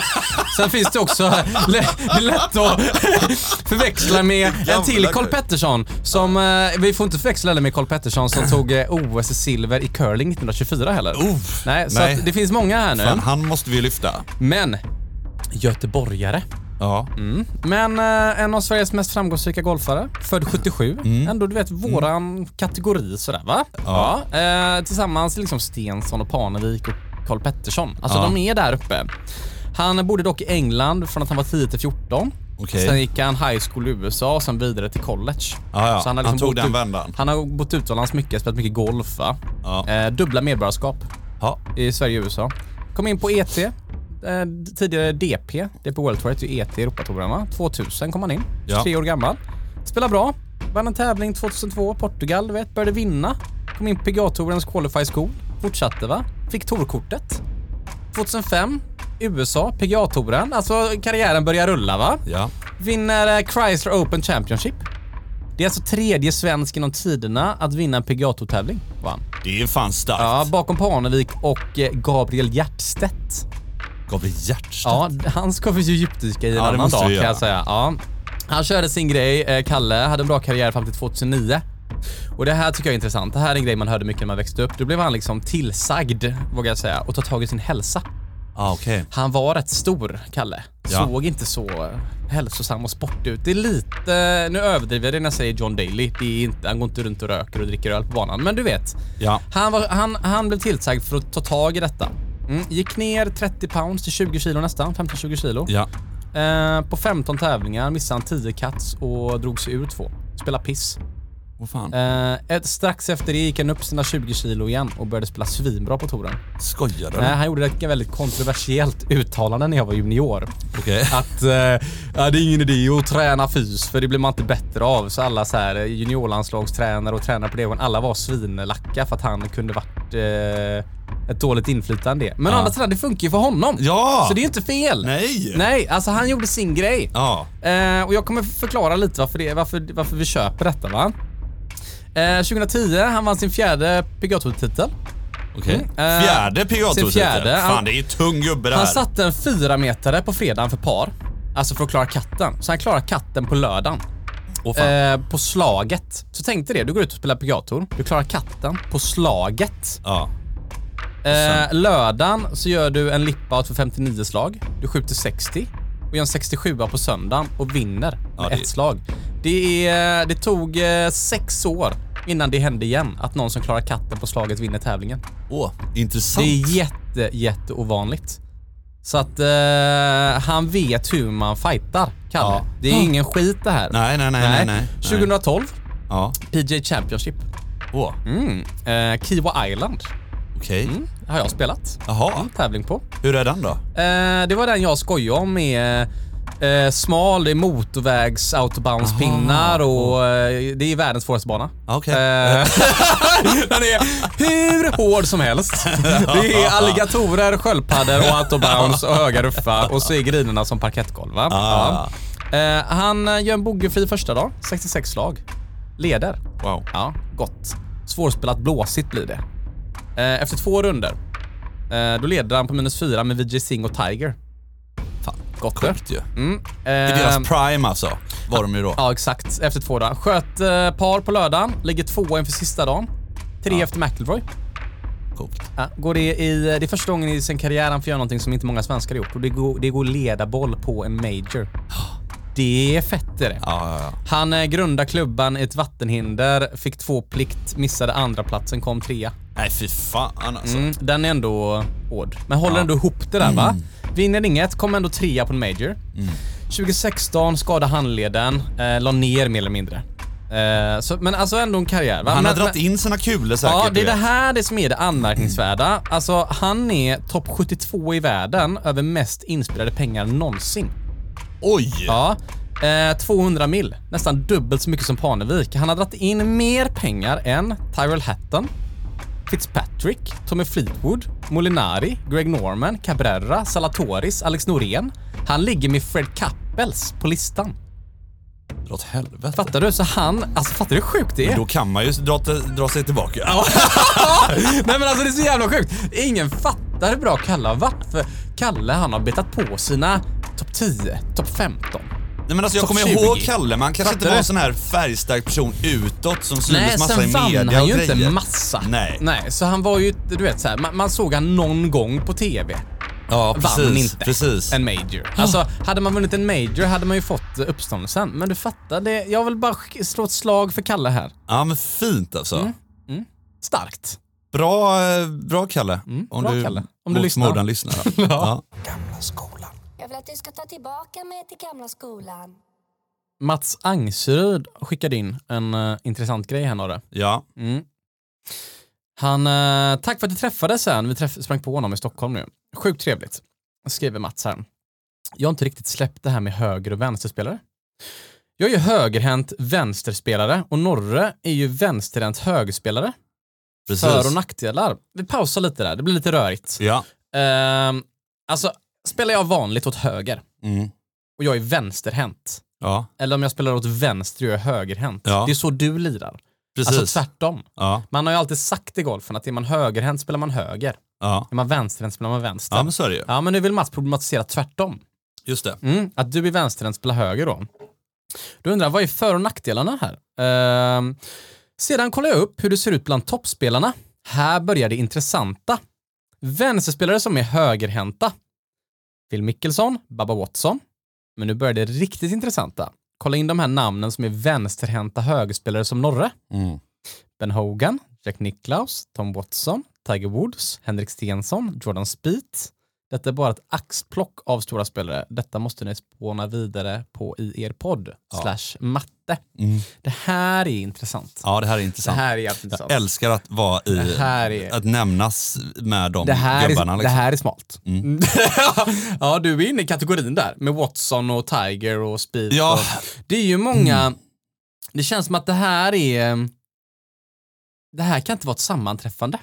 Speaker 1: Sen finns det också, eh, lä- det är lätt att [laughs] förväxla med en till
Speaker 2: Gamla
Speaker 1: Karl
Speaker 2: kung.
Speaker 1: Pettersson som, eh, vi får inte förväxla heller med Karl Pettersson som tog eh, OS i silver i curling 1924 heller.
Speaker 2: Oof,
Speaker 1: nej, så
Speaker 2: nej.
Speaker 1: Att det finns många här nu.
Speaker 2: Fan, han måste vi ju lyfta.
Speaker 1: Men, göteborgare.
Speaker 2: Ja.
Speaker 1: Mm. Men eh, en av Sveriges mest framgångsrika golfare, född 77. Ändå, du vet, våran kategori sådär va?
Speaker 2: Mm. Ja.
Speaker 1: Eh, tillsammans liksom Stensson och Parnevik och Karl Pettersson. Alltså
Speaker 2: Ja.
Speaker 1: de är där uppe. Han bodde dock i England från att han var 10 till 14.
Speaker 2: Okej.
Speaker 1: Sen gick han high school i USA och sen vidare till college.
Speaker 2: Ja, ja. Han tog
Speaker 1: liksom bott
Speaker 2: den
Speaker 1: ut-
Speaker 2: vändan.
Speaker 1: Han har bott utomlands mycket, spelat mycket golf. Va?
Speaker 2: Ja.
Speaker 1: Eh, dubbla medborgarskap
Speaker 2: Ja.
Speaker 1: i Sverige och USA. Kom in på ET, eh, tidigare DP, DP World Tour, hette ju ET i Europatouren va? 2000 kom han in,
Speaker 2: Ja.
Speaker 1: tre år gammal. Spelade bra, vann en tävling 2002, Portugal, du vet, började vinna. Kom in på PGA-tourens qualify school, fortsatte va? Fick tourkortet. 2005, USA, PGA-touren, alltså karriären börjar rulla va?
Speaker 2: Ja.
Speaker 1: Vinner eh, Chrysler Open Championship. Det är alltså tredje svensk genom tiderna att vinna en PGA-tour-tävling, vann.
Speaker 2: Det är fan starkt.
Speaker 1: Ja, bakom Parnevik och eh, Gabriel Hjertstedt.
Speaker 2: Gabriel Hjertstedt.
Speaker 1: Ja, han ska vi ju djupdyka i en
Speaker 2: Ja, det
Speaker 1: annan
Speaker 2: måste
Speaker 1: dag kan
Speaker 2: vi göra.
Speaker 1: jag säga. Ja. Han körde sin grej, eh, Kalle, hade en bra karriär fram till 2009. Och det här tycker jag är intressant. Det här är en grej man hörde mycket när man växte upp. Då blev han liksom tillsagd, vågar jag säga, att ta tag i sin hälsa.
Speaker 2: Ah, okej.
Speaker 1: Han var rätt stor, Kalle.
Speaker 2: Ja.
Speaker 1: Såg inte så eh, hälsosam och sportig ut. Det är lite, nu överdriver jag det när jag säger John Daly. Det är inte, han går inte runt och röker och dricker öl på banan, men du vet.
Speaker 2: Ja.
Speaker 1: Han, var, han, han blev tillsagd för att ta tag i detta. Mm. Gick ner 30 pounds till 20 kilo nästan, 15-20 kilo.
Speaker 2: Ja.
Speaker 1: Eh, på 15 tävlingar missade han 10 cuts och drog sig ur två. Spela piss.
Speaker 2: Vad fan.
Speaker 1: Eh, ett, strax efter det gick han upp sina 20 kilo igen och började spela svinbra på touren.
Speaker 2: Skojar du?
Speaker 1: Nej, han gjorde ett väldigt kontroversiellt uttalande när jag var junior.
Speaker 2: Okej.
Speaker 1: Att eh, ja, det är ingen idé att träna fys för det blir man inte bättre av. Så alla så här eh, juniorlandslagstränare och tränare på det och alla var svinlacka för att han kunde varit eh, ett dåligt inflytande. i det. Men å andra sidan, det funkar ju för honom.
Speaker 2: Ja!
Speaker 1: Så det är ju inte fel.
Speaker 2: Nej.
Speaker 1: Nej, alltså han gjorde sin grej.
Speaker 2: Ja.
Speaker 1: Eh, och jag kommer förklara lite varför, det, varför, varför vi köper detta va. Eh, 2010, han vann sin fjärde PGA Tour-titel.
Speaker 2: Okej.
Speaker 1: eh,
Speaker 2: Fjärde pga
Speaker 1: sin fjärde.
Speaker 2: Fan,
Speaker 1: Han-
Speaker 2: det är ju tung gubbe det här.
Speaker 1: Han satte en fyra metare på fredagen för par. Alltså för att klara katten. Så han klarar katten på lördagen.
Speaker 2: Åh, fan.
Speaker 1: Eh, på slaget. Så tänk dig det, du går ut och spelar Pigator. Du klarar katten på slaget.
Speaker 2: Ja.
Speaker 1: Eh, lördagen så gör du en lip-out för 59 slag. Du skjuter 60 och gör en 67 på söndagen och vinner med
Speaker 2: Ja, det-
Speaker 1: ett slag. Det, är, det tog eh, sex år innan det hände igen att någon som klarar katten på slaget vinner tävlingen.
Speaker 2: Åh, intressant.
Speaker 1: Det är jätte, jätte ovanligt. Så att eh, han vet hur man fightar, Kalle.
Speaker 2: Ja.
Speaker 1: Det är ingen skit det här.
Speaker 2: Nej, nej, nej, nej, nej.
Speaker 1: 2012,
Speaker 2: Ja.
Speaker 1: PJ Championship.
Speaker 2: Åh,
Speaker 1: Mm. Eh, Kiwa Island
Speaker 2: okej.
Speaker 1: har jag spelat.
Speaker 2: Jaha.
Speaker 1: Tävling på.
Speaker 2: Hur är den då?
Speaker 1: Eh, det var den jag skojade om med eh, smal, det är motorvägs autobahnspinnar och eh, det är världens svåraste bana.
Speaker 2: Okej. [laughs]
Speaker 1: Eh, den är hur hård som helst. Det är alligatorer, sköldpaddor och autobounce och höga ruffar och så är grinerna som parkettgolv. Va?
Speaker 2: Ah.
Speaker 1: Ja. Eh, han gör en bogeyfri första dag, 66 slag. Leder.
Speaker 2: Wow.
Speaker 1: Ja, gott. Svårspelat blåsigt blir det. Eh, efter två runder eh, då leder han på minus fyra med Vijay Singh och Tiger.
Speaker 2: Fan.
Speaker 1: Gott du.
Speaker 2: Sjukt ju.
Speaker 1: Mm.
Speaker 2: Det är
Speaker 1: Ehm,
Speaker 2: deras prime alltså. Var de ju då.
Speaker 1: Ja, exakt. Efter två dagar. Sköt eh, par på lördagen, ligger tvåa inför sista dagen. Tre efter McIlroy.
Speaker 2: Coolt.
Speaker 1: Ja, går det, i, det är första gången i sin karriär han får göra någonting som inte många svenskar har gjort. Och det går, det går ledarboll på en major. Det är fett är det.
Speaker 2: Ja, ja, ja.
Speaker 1: Han eh, grundade klubban i ett vattenhinder, fick två plikt, missade andra platsen, kom trea.
Speaker 2: Nej, fy fan alltså.
Speaker 1: Mm, den är ändå hård. Men håller ändå ihop det där va?
Speaker 2: Mm.
Speaker 1: Vinner inget, kom ändå trea på en major. 2016 skadade handleden, eh, la ner mer eller mindre. Eh, så, men alltså ändå en karriär. Va?
Speaker 2: Han
Speaker 1: men,
Speaker 2: har dragit
Speaker 1: men-
Speaker 2: in sina kulor säkert.
Speaker 1: Ja, det
Speaker 2: du
Speaker 1: är det
Speaker 2: vet. Mm.
Speaker 1: här det som är det anmärkningsvärda. Alltså, han är topp 72 i världen över mest inspelade pengar någonsin.
Speaker 2: Oj!
Speaker 1: Ja. Eh, 200 mil, nästan dubbelt så mycket som Parnevik. Han har dragit in mer pengar än Tyrell Hatton, Fitzpatrick, Tommy Fleetwood, Molinari, Greg Norman, Cabrera, Salatoris, Alex Norén. Han ligger med Fred Kappels på listan.
Speaker 2: Dra åt helvete.
Speaker 1: Fattar du? Så han, alltså fattar du hur sjukt det är?
Speaker 2: Då kan man ju dra, dra sig tillbaka.
Speaker 1: [laughs] Nej men alltså det är så jävla sjukt. Ingen fattar hur bra Kalle har varit för Kalle han har betat på sina topp 10, topp 15.
Speaker 2: Nej, men alltså, jag
Speaker 1: Topp
Speaker 2: kommer
Speaker 1: 20.
Speaker 2: ihåg Kalle, men han kanske inte
Speaker 1: Fattar
Speaker 2: var en
Speaker 1: du?
Speaker 2: sån här färgstark person utåt som
Speaker 1: Nej,
Speaker 2: syntes massa
Speaker 1: sen
Speaker 2: i media
Speaker 1: vann
Speaker 2: och
Speaker 1: han ju
Speaker 2: grejer.
Speaker 1: inte massa.
Speaker 2: Nej.
Speaker 1: så han var ju, du vet så här, man, man såg han någon gång på TV.
Speaker 2: Ja, precis.
Speaker 1: vann inte
Speaker 2: Precis.
Speaker 1: en major. Alltså, hade man vunnit en major hade man ju fått eh, uppståndelsen. Men du fattar, det, jag vill bara sk- slå ett slag för Kalle här.
Speaker 2: Ja, men fint alltså.
Speaker 1: Mm. Starkt.
Speaker 2: Bra, eh, bra Kalle. om
Speaker 1: Mm, bra
Speaker 2: du,
Speaker 1: Kalle. Om du
Speaker 2: mot
Speaker 1: lyssnar. [laughs]
Speaker 2: förmodan lyssnar. ja. ja.
Speaker 3: Gamla skolan.
Speaker 4: Jag vill att du ska ta tillbaka mig till gamla skolan.
Speaker 1: Mats Angseryd skickade in en eh, intressant grej här Norre.
Speaker 2: ja.
Speaker 1: Han, eh, tack för att du träffade sen. Vi träff, sprang på honom i Stockholm nu. Sjukt trevligt. skriver Mats här. Jag har inte riktigt släppt det här med höger och vänsterspelare. Jag är ju högerhänt vänsterspelare och Norre är ju vänsterhänt högerspelare. För och nackdelar. Vi pausar lite där, det blir lite rörigt.
Speaker 2: Ja.
Speaker 1: Ehm, alltså, spelar jag vanligt åt höger
Speaker 2: Mm.
Speaker 1: och jag är vänsterhänt,
Speaker 2: Ja,
Speaker 1: eller om jag spelar åt vänster och jag är högerhänt,
Speaker 2: Ja.
Speaker 1: det är så du lirar.
Speaker 2: precis.
Speaker 1: Alltså tvärtom.
Speaker 2: ja,
Speaker 1: Man har ju alltid sagt i golfen att är man högerhänt spelar man höger,
Speaker 2: ja.
Speaker 1: är man vänsterhänt spelar man vänster.
Speaker 2: ja, men så är det ju.
Speaker 1: Ja, men nu vill Mats problematisera tvärtom.
Speaker 2: Just det.
Speaker 1: Mm, att du är vänsterhänt spelar höger då. Då undrar jag, vad är för och nackdelarna här? Ehm, sedan kollar jag upp hur det ser ut bland toppspelarna. Här börjar det intressanta. Vänsterspelare som är högerhänta. Phil Mickelson, Baba Watson. Men nu börjar det riktigt intressanta. Kolla in de här namnen som är vänsterhänta högerspelare som Norre.
Speaker 2: Mm.
Speaker 1: Ben Hogan, Jack Nicklaus, Tom Watson, Tiger Woods, Henrik Stenson, Jordan Spieth. Detta är bara ett axplock av stora spelare. Detta måste ni spåna vidare på i er podd. Slash matte. Det här är intressant.
Speaker 2: Mm. Ja, det här är
Speaker 1: Det
Speaker 2: intressant.
Speaker 1: här är jävligt intressant.
Speaker 2: Jag älskar att vara i,
Speaker 1: Det här är-
Speaker 2: att nämnas med de
Speaker 1: Det här,
Speaker 2: gubbarna.
Speaker 1: är, det
Speaker 2: Liksom. Mm.
Speaker 1: här är smalt. [laughs] ja, du är inne i kategorin där med Watson och Tiger och Speed.
Speaker 2: Ja. Mm.
Speaker 1: Och, det är ju många, det känns som att det här är, det här kan inte vara ett sammanträffande.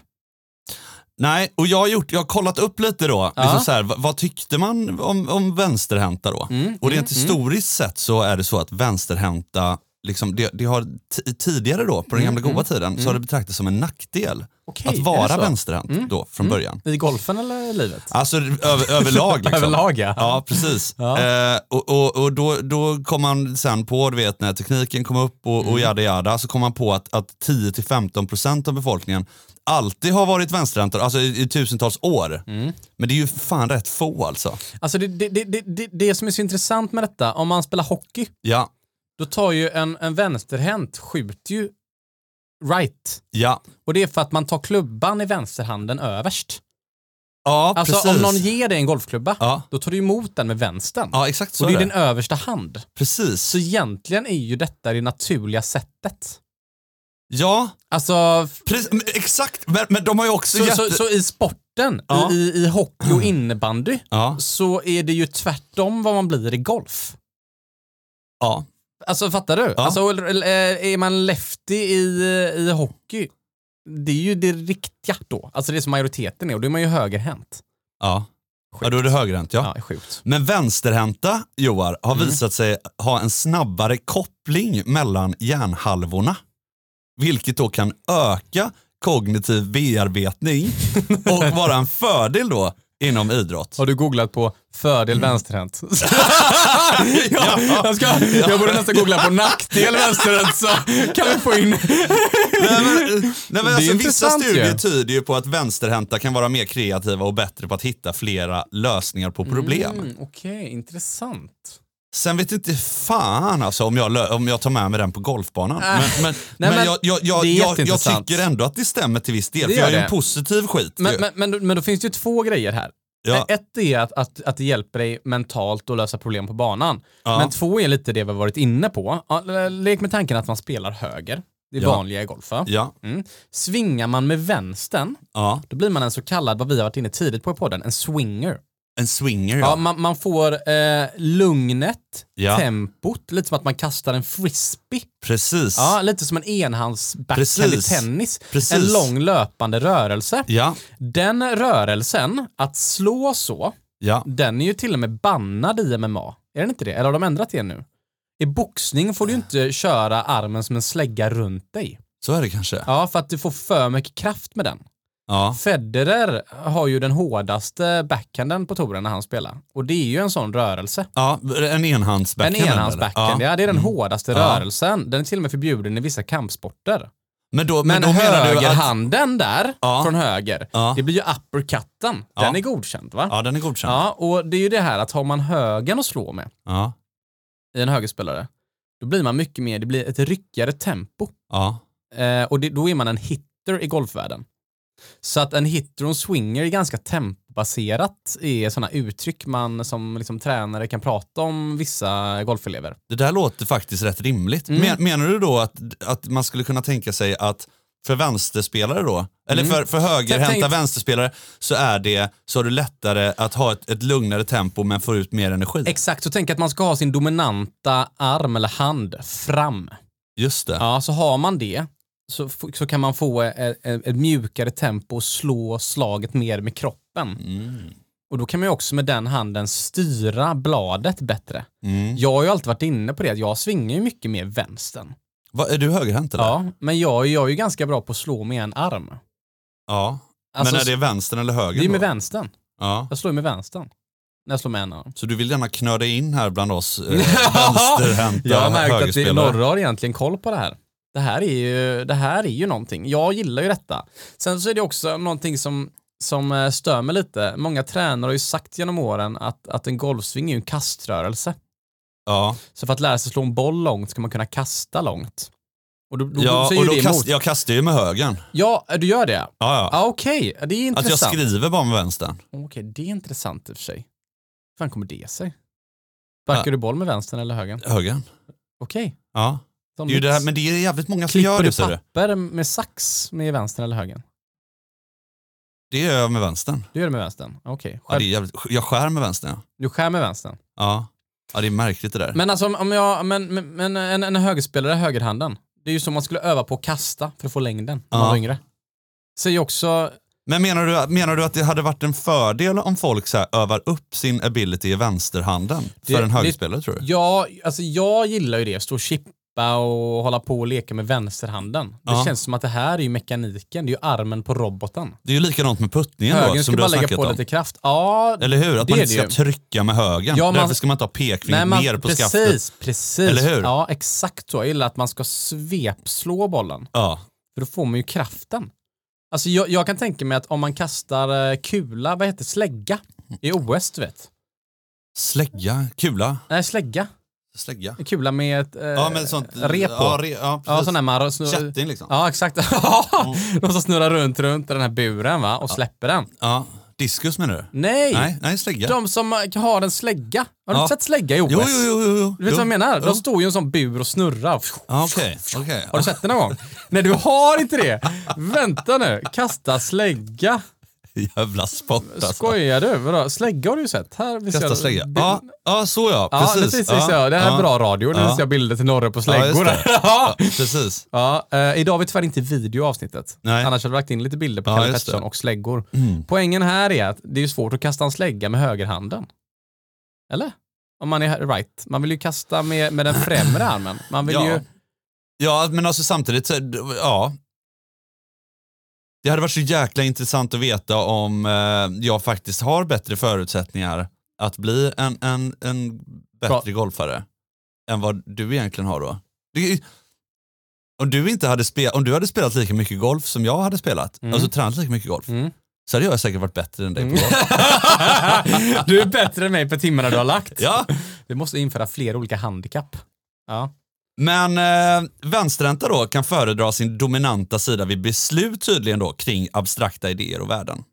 Speaker 2: Nej, och jag har, gjort, jag har kollat upp lite då,
Speaker 1: Ja.
Speaker 2: liksom så här, vad, vad tyckte man om, om vänsterhänta då?
Speaker 1: Mm,
Speaker 2: och rent historiskt sett så är det så att vänsterhänta, liksom, det, det har ti- tidigare då, på den gamla goda tiden, så har det betraktats som en nackdel
Speaker 1: Mm, Okej, är
Speaker 2: att
Speaker 1: det
Speaker 2: vara
Speaker 1: så? Mm,
Speaker 2: vänsterhänt då från början.
Speaker 1: I golfen eller i livet?
Speaker 2: Alltså över,
Speaker 1: [laughs]
Speaker 2: överlag. Liksom.
Speaker 1: Överlag ja.
Speaker 2: Ja, precis. Eh, och och, och då, då kom man sen på, du vet när tekniken kom upp och,
Speaker 1: Mm.
Speaker 2: och yada yada, så kom man på att, att 10-15% av befolkningen alltid har varit vänsterhänta, alltså i, i tusentals år.
Speaker 1: Mm.
Speaker 2: Men det är ju fan rätt få alltså.
Speaker 1: Alltså det, det, det, det, det, det som är så intressant med detta, om man spelar hockey,
Speaker 2: Ja,
Speaker 1: då tar ju en, en vänsterhänt, skjuter ju right.
Speaker 2: ja.
Speaker 1: Och det är för att man tar klubban i vänsterhanden överst.
Speaker 2: Ja,
Speaker 1: Alltså
Speaker 2: precis.
Speaker 1: om någon ger dig en golfklubba,
Speaker 2: Ja.
Speaker 1: då tar du emot den med vänstern.
Speaker 2: Ja, exakt så
Speaker 1: och
Speaker 2: är
Speaker 1: det är
Speaker 2: det.
Speaker 1: din översta hand.
Speaker 2: Precis.
Speaker 1: Så egentligen är ju detta det naturliga sättet.
Speaker 2: Ja,
Speaker 1: Alltså,
Speaker 2: precis. Men, exakt. Men, men de har ju också
Speaker 1: så,
Speaker 2: jätte...
Speaker 1: så, så i sporten,
Speaker 2: Ja.
Speaker 1: i, i hockey och innebandy,
Speaker 2: Ja,
Speaker 1: så är det ju tvärtom vad man blir i golf.
Speaker 2: ja.
Speaker 1: Alltså fattar du?
Speaker 2: Ja.
Speaker 1: Alltså, eller- eller, eh, är man lefty i, i hockey, det är ju det riktiga då. Alltså det som majoriteten är och då är man ju högerhänt.
Speaker 2: ja. ja då är det högerhänt ja.
Speaker 1: Ja, det är sjukt.
Speaker 2: Men vänsterhänta, Joar, har
Speaker 1: Mm.
Speaker 2: visat sig ha en snabbare koppling mellan hjärnhalvorna. Vilket då kan öka
Speaker 1: [laughs]
Speaker 2: kognitiv bearbetning och vara en fördel då inom idrott.
Speaker 1: Har du googlat på fördel [laughs] vänsterhänt? Mm. ja, jag, ska, jag borde nästan googla på nackdel vänsterhänt så kan vi få in...
Speaker 2: Nej, men, nej, men
Speaker 1: Det är
Speaker 2: alltså, vissa
Speaker 1: intressant ju.
Speaker 2: studier tyder ju på att vänsterhänta kan vara mer kreativa och bättre på att hitta flera lösningar på problem.
Speaker 1: Mm, Okej, intressant.
Speaker 2: Sen vet inte fan alltså om jag, lö- om jag tar med mig den på golfbanan.
Speaker 1: Äh.
Speaker 2: Men, men,
Speaker 1: Nej,
Speaker 2: men
Speaker 1: men
Speaker 2: jag, jag, jag,
Speaker 1: det är
Speaker 2: jag, jag
Speaker 1: jätteintressant.
Speaker 2: tycker ändå att det stämmer till viss del.
Speaker 1: Det
Speaker 2: För jag är
Speaker 1: gör
Speaker 2: ju en
Speaker 1: det.
Speaker 2: positiv skit.
Speaker 1: Men,
Speaker 2: ju.
Speaker 1: men, men, då- men då finns det ju två grejer här. Eh,
Speaker 2: ja,
Speaker 1: Ett är att, att, att det hjälper dig mentalt att lösa problem på banan.
Speaker 2: Ja.
Speaker 1: Men två är lite det vi har varit inne på. Ja, Lek med tanken att man spelar höger. Det är
Speaker 2: Ja.
Speaker 1: vanliga i golf. va?
Speaker 2: ja,
Speaker 1: Mm. Svingar man med vänstern,
Speaker 2: ja.
Speaker 1: då blir man en så kallad, vad vi har varit inne tidigt på i podden, en swinger.
Speaker 2: En swinger
Speaker 1: Ja,
Speaker 2: ja.
Speaker 1: man, man får eh, lugnet,
Speaker 2: Ja.
Speaker 1: tempot, lite som att man kastar en frisbee.
Speaker 2: Precis.
Speaker 1: Ja, lite som en enhandsbackhand i
Speaker 2: Precis.
Speaker 1: tennis.
Speaker 2: Precis.
Speaker 1: En lång löpande rörelse.
Speaker 2: Ja,
Speaker 1: Den rörelsen, att slå så,
Speaker 2: ja.
Speaker 1: den är ju till och med bannad i MMA. Är den inte det? Eller har de ändrat det nu? I boxning får du ju inte köra armen som en slägga runt dig.
Speaker 2: Så är det kanske. Ja.
Speaker 1: Ja, för att du får för mycket kraft med den.
Speaker 2: Ja.
Speaker 1: Federer har ju den hårdaste backhanden på touren när han spelar. Och det är ju en sån rörelse.
Speaker 2: en enhandsbackhand.
Speaker 1: En
Speaker 2: eller?
Speaker 1: enhandsbackhand, ja. det är den hårdaste
Speaker 2: Mm. Ja.
Speaker 1: rörelsen. Den är till och med förbjuden i vissa kampsporter.
Speaker 2: Men då, men
Speaker 1: Men
Speaker 2: då menar du att...
Speaker 1: högerhanden där,
Speaker 2: Ja.
Speaker 1: från höger,
Speaker 2: Ja.
Speaker 1: det blir ju uppercutten. Den
Speaker 2: Ja.
Speaker 1: är godkänd va?
Speaker 2: Ja, den är godkänd. Ja.
Speaker 1: Ja, och det är ju det här att har man högen att slå med,
Speaker 2: Ja.
Speaker 1: i en högerspelare, då blir man mycket mer, det blir ett ryckigare tempo.
Speaker 2: Ja.
Speaker 1: Eh, och det, då är man en hitter i golfvärlden. Så att en hitter och en swinger är ganska tempobaserat i sådana uttryck man som liksom tränare kan prata om vissa golfelever. Mm.
Speaker 2: Det där låter faktiskt rätt rimligt. Men, menar du då att, att man skulle kunna tänka sig att För vänsterspelare då, eller
Speaker 1: Mm.
Speaker 2: för, för högerhänta
Speaker 1: Jag tänkte-
Speaker 2: vänsterspelare, så är det så har du lättare att ha ett, ett lugnare tempo men får ut mer energi.
Speaker 1: Exakt, så tänk att man ska ha sin dominanta arm eller hand fram.
Speaker 2: Just det.
Speaker 1: Ja, så har man det så, f- så kan man få ett, ett, ett mjukare tempo och slå slaget mer med kroppen.
Speaker 2: Mm.
Speaker 1: Och då kan man ju också med den handen styra bladet bättre.
Speaker 2: Mm.
Speaker 1: Jag har ju alltid varit inne på det, att jag svingar ju mycket mer vänstern.
Speaker 2: Va, är du högerhänt eller?
Speaker 1: Ja, men jag, jag är ju ganska bra på att slå med en arm.
Speaker 2: Ja.
Speaker 1: Alltså,
Speaker 2: men är det vänstern eller höger?
Speaker 1: Det är ju
Speaker 2: då?
Speaker 1: med vänstern.
Speaker 2: Ja.
Speaker 1: Jag slår ju med vänstern. När jag slår med en arm.
Speaker 2: Så du vill gärna knöda in här bland
Speaker 1: [laughs]
Speaker 2: oss eh, vänsterhänta
Speaker 1: Jag har märkt att det-
Speaker 2: högerspelare?
Speaker 1: Norra har egentligen koll på det här. Det här, är ju, det här är ju någonting. Jag gillar ju detta. Sen så är det också någonting som, som eh, stör mig lite. Många tränare har ju sagt genom åren att, att en golfsving är ju en kaströrelse.
Speaker 2: Ja,
Speaker 1: Så för att lära sig slå en boll långt ska man kunna kasta långt. Och då, då
Speaker 2: ja
Speaker 1: säger
Speaker 2: och
Speaker 1: ju
Speaker 2: då
Speaker 1: det
Speaker 2: kast,
Speaker 1: emot.
Speaker 2: jag kastar ju med högern.
Speaker 1: Ja, du gör det?
Speaker 2: Ja, ja.
Speaker 1: Ja, okej. Det är
Speaker 2: Att jag
Speaker 1: intressant.
Speaker 2: skriver bara med vänstern.
Speaker 1: Okej, det är intressant i och för sig. Hur fan kommer det sig? Sparkar
Speaker 2: Ja.
Speaker 1: du boll med vänstern eller högern?
Speaker 2: Högern.
Speaker 1: Okej.
Speaker 2: Ja.
Speaker 1: Som
Speaker 2: Det är ju det här,
Speaker 1: mix.
Speaker 2: men det är jävligt många som
Speaker 1: Klipper
Speaker 2: gör det.
Speaker 1: Alltså, du
Speaker 2: ser du.
Speaker 1: papper med sax med vänstern eller högern?
Speaker 2: Det gör jag med vänstern.
Speaker 1: Du gör det med vänstern? Okej.
Speaker 2: Ja,
Speaker 1: Skär-
Speaker 2: det är jävligt, jag skär med vänstern ja.
Speaker 1: Du skär med vänstern?
Speaker 2: Ja, ja det är märkligt det där.
Speaker 1: Men alltså om- om jag, men, men, men en, en högerspelare är högerhanden. Det är ju som man skulle öva på att kasta för att få längden när
Speaker 2: Ja.
Speaker 1: man var yngre. Säger också,
Speaker 2: Men menar du, menar du att det hade varit en fördel om folk så här övar upp sin ability i vänsterhanden för
Speaker 1: Det-
Speaker 2: en
Speaker 1: det-
Speaker 2: högerspelare tror du?
Speaker 1: ja, alltså jag gillar ju det, stå och chippa och hålla på och leka med vänsterhanden. Det
Speaker 2: Ja.
Speaker 1: känns som att det här är ju mekaniken, det är ju armen på roboten.
Speaker 2: Det är ju likadant med puttningen då,
Speaker 1: Högern
Speaker 2: som
Speaker 1: ska
Speaker 2: du har
Speaker 1: bara lägga
Speaker 2: snackat
Speaker 1: på
Speaker 2: om.
Speaker 1: lite kraft. Ja,
Speaker 2: Eller hur? Att
Speaker 1: Det
Speaker 2: man
Speaker 1: är
Speaker 2: inte
Speaker 1: det
Speaker 2: ska
Speaker 1: ju.
Speaker 2: trycka med högern.
Speaker 1: Ja, man-
Speaker 2: Därför ska man inte ha pekfingret
Speaker 1: Nej, man,
Speaker 2: ner på
Speaker 1: precis,
Speaker 2: skaftet.
Speaker 1: Precis,
Speaker 2: Eller hur?
Speaker 1: Ja, exakt så. Jag gillar att man ska svepslå bollen.
Speaker 2: Ja.
Speaker 1: För då får man ju kraften. Alltså jag, jag kan tänka mig att om man kastar eh, kula, vad heter det? slägga i OS du vet.
Speaker 2: Slägga, kula,
Speaker 1: Nej, slägga.
Speaker 2: slägga.
Speaker 1: En kula med ett eh,
Speaker 2: Ja men sånt.
Speaker 1: rep på.
Speaker 2: Ja,
Speaker 1: Ja,
Speaker 2: re, ja, precis.
Speaker 1: ja sån där man snur-
Speaker 2: Kätting liksom. Ja.
Speaker 1: Ja, exakt. [laughs] Ja, De som snurrar runt, runt i den här buren va? och släpper den.
Speaker 2: Diskus menar du?
Speaker 1: Nej!
Speaker 2: Nej, nej slägga.
Speaker 1: De som eh, har en slägga. Har du
Speaker 2: Ja.
Speaker 1: inte sett slägga i OS?
Speaker 2: Jo, jo, jo, jo, jo.
Speaker 1: Du vet
Speaker 2: jo.
Speaker 1: vad jag menar?
Speaker 2: Jo.
Speaker 1: De står ju i en sån bur och snurrar.
Speaker 2: Ja, Okej, okej.
Speaker 1: Har du sett det någon gång? Nej, du har inte det. Vänta nu. Kasta slägga.
Speaker 2: [laughs] Jävla sport alltså.
Speaker 1: Skojar du? Vadå? Slägga har du ju sett. Här visar
Speaker 2: Kasta
Speaker 1: jag-
Speaker 2: slägga.
Speaker 1: Bild-
Speaker 2: Ja, ja, så ja.
Speaker 1: Ja,
Speaker 2: Precis.
Speaker 1: precis. visar jag. Det här är bra radio. Nu
Speaker 2: Ja.
Speaker 1: visar jag bilder till Norre på
Speaker 2: Ja, just
Speaker 1: släggor.
Speaker 2: det.
Speaker 1: [laughs] Ja,
Speaker 2: Precis.
Speaker 1: ja, eh, idag har vi tyvärr inte video i avsnittet.
Speaker 2: Nej.
Speaker 1: Annars hade vi lagt in lite bilder på
Speaker 2: Ja,
Speaker 1: Kalle
Speaker 2: just det.
Speaker 1: Pettersson och släggor. Poängen här är att det är ju svårt att kasta en slägga med högerhanden. Eller? Om man är right. Man vill ju kasta med, med den främre armen. Man vill
Speaker 2: Ja.
Speaker 1: ju... [laughs]
Speaker 2: Ja, men alltså samtidigt, så, ja. Det hade varit så jäkla intressant att veta om eh, jag faktiskt har bättre förutsättningar att bli en, en, en bättre
Speaker 1: Bra.
Speaker 2: golfare än vad du egentligen har då. Det, om, du inte hade spe, om du hade spelat lika mycket golf som jag hade spelat,
Speaker 1: Mm.
Speaker 2: alltså tränat lika mycket golf,
Speaker 1: Mm.
Speaker 2: så hade jag säkert varit bättre än dig på
Speaker 1: Mm.
Speaker 2: golf.
Speaker 1: [laughs] du är bättre än mig på timmarna du har lagt.
Speaker 2: Ja.
Speaker 1: Vi måste införa flera olika handikapp. Ja.
Speaker 2: Men eh, vänsterhänta då kan föredra sin dominanta sida vid beslut tydligen då kring abstrakta idéer och värden.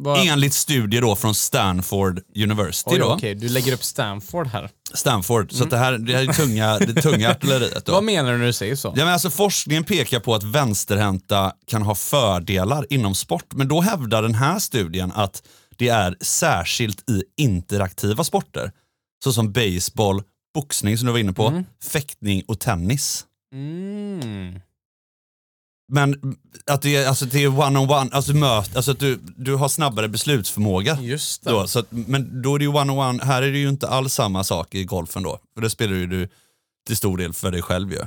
Speaker 1: Vad-
Speaker 2: Enligt studier då från Stanford University.
Speaker 1: Oj,
Speaker 2: då.
Speaker 1: okej, Mm. du lägger upp Stanford här.
Speaker 2: Stanford, så att det här, det här är tunga, det
Speaker 1: [laughs]
Speaker 2: tunga artilleriet. Då.
Speaker 1: Vad menar du när du säger så?
Speaker 2: Ja, men alltså, forskningen pekar på att vänsterhänta kan ha fördelar inom sport, men då hävdar den här studien att det är särskilt i interaktiva sporter, såsom baseball, boxning som du var inne på, fäktning och tennis.
Speaker 1: Mm.
Speaker 2: Men att det är, alltså, det är one-on-one, alltså, möt, alltså att du, du har snabbare beslutsförmåga.
Speaker 1: Just det.
Speaker 2: Då, så att, men då är det ju one-on-one, här är det ju inte alls samma sak i golfen då. För det spelar ju du till stor del för dig själv ju.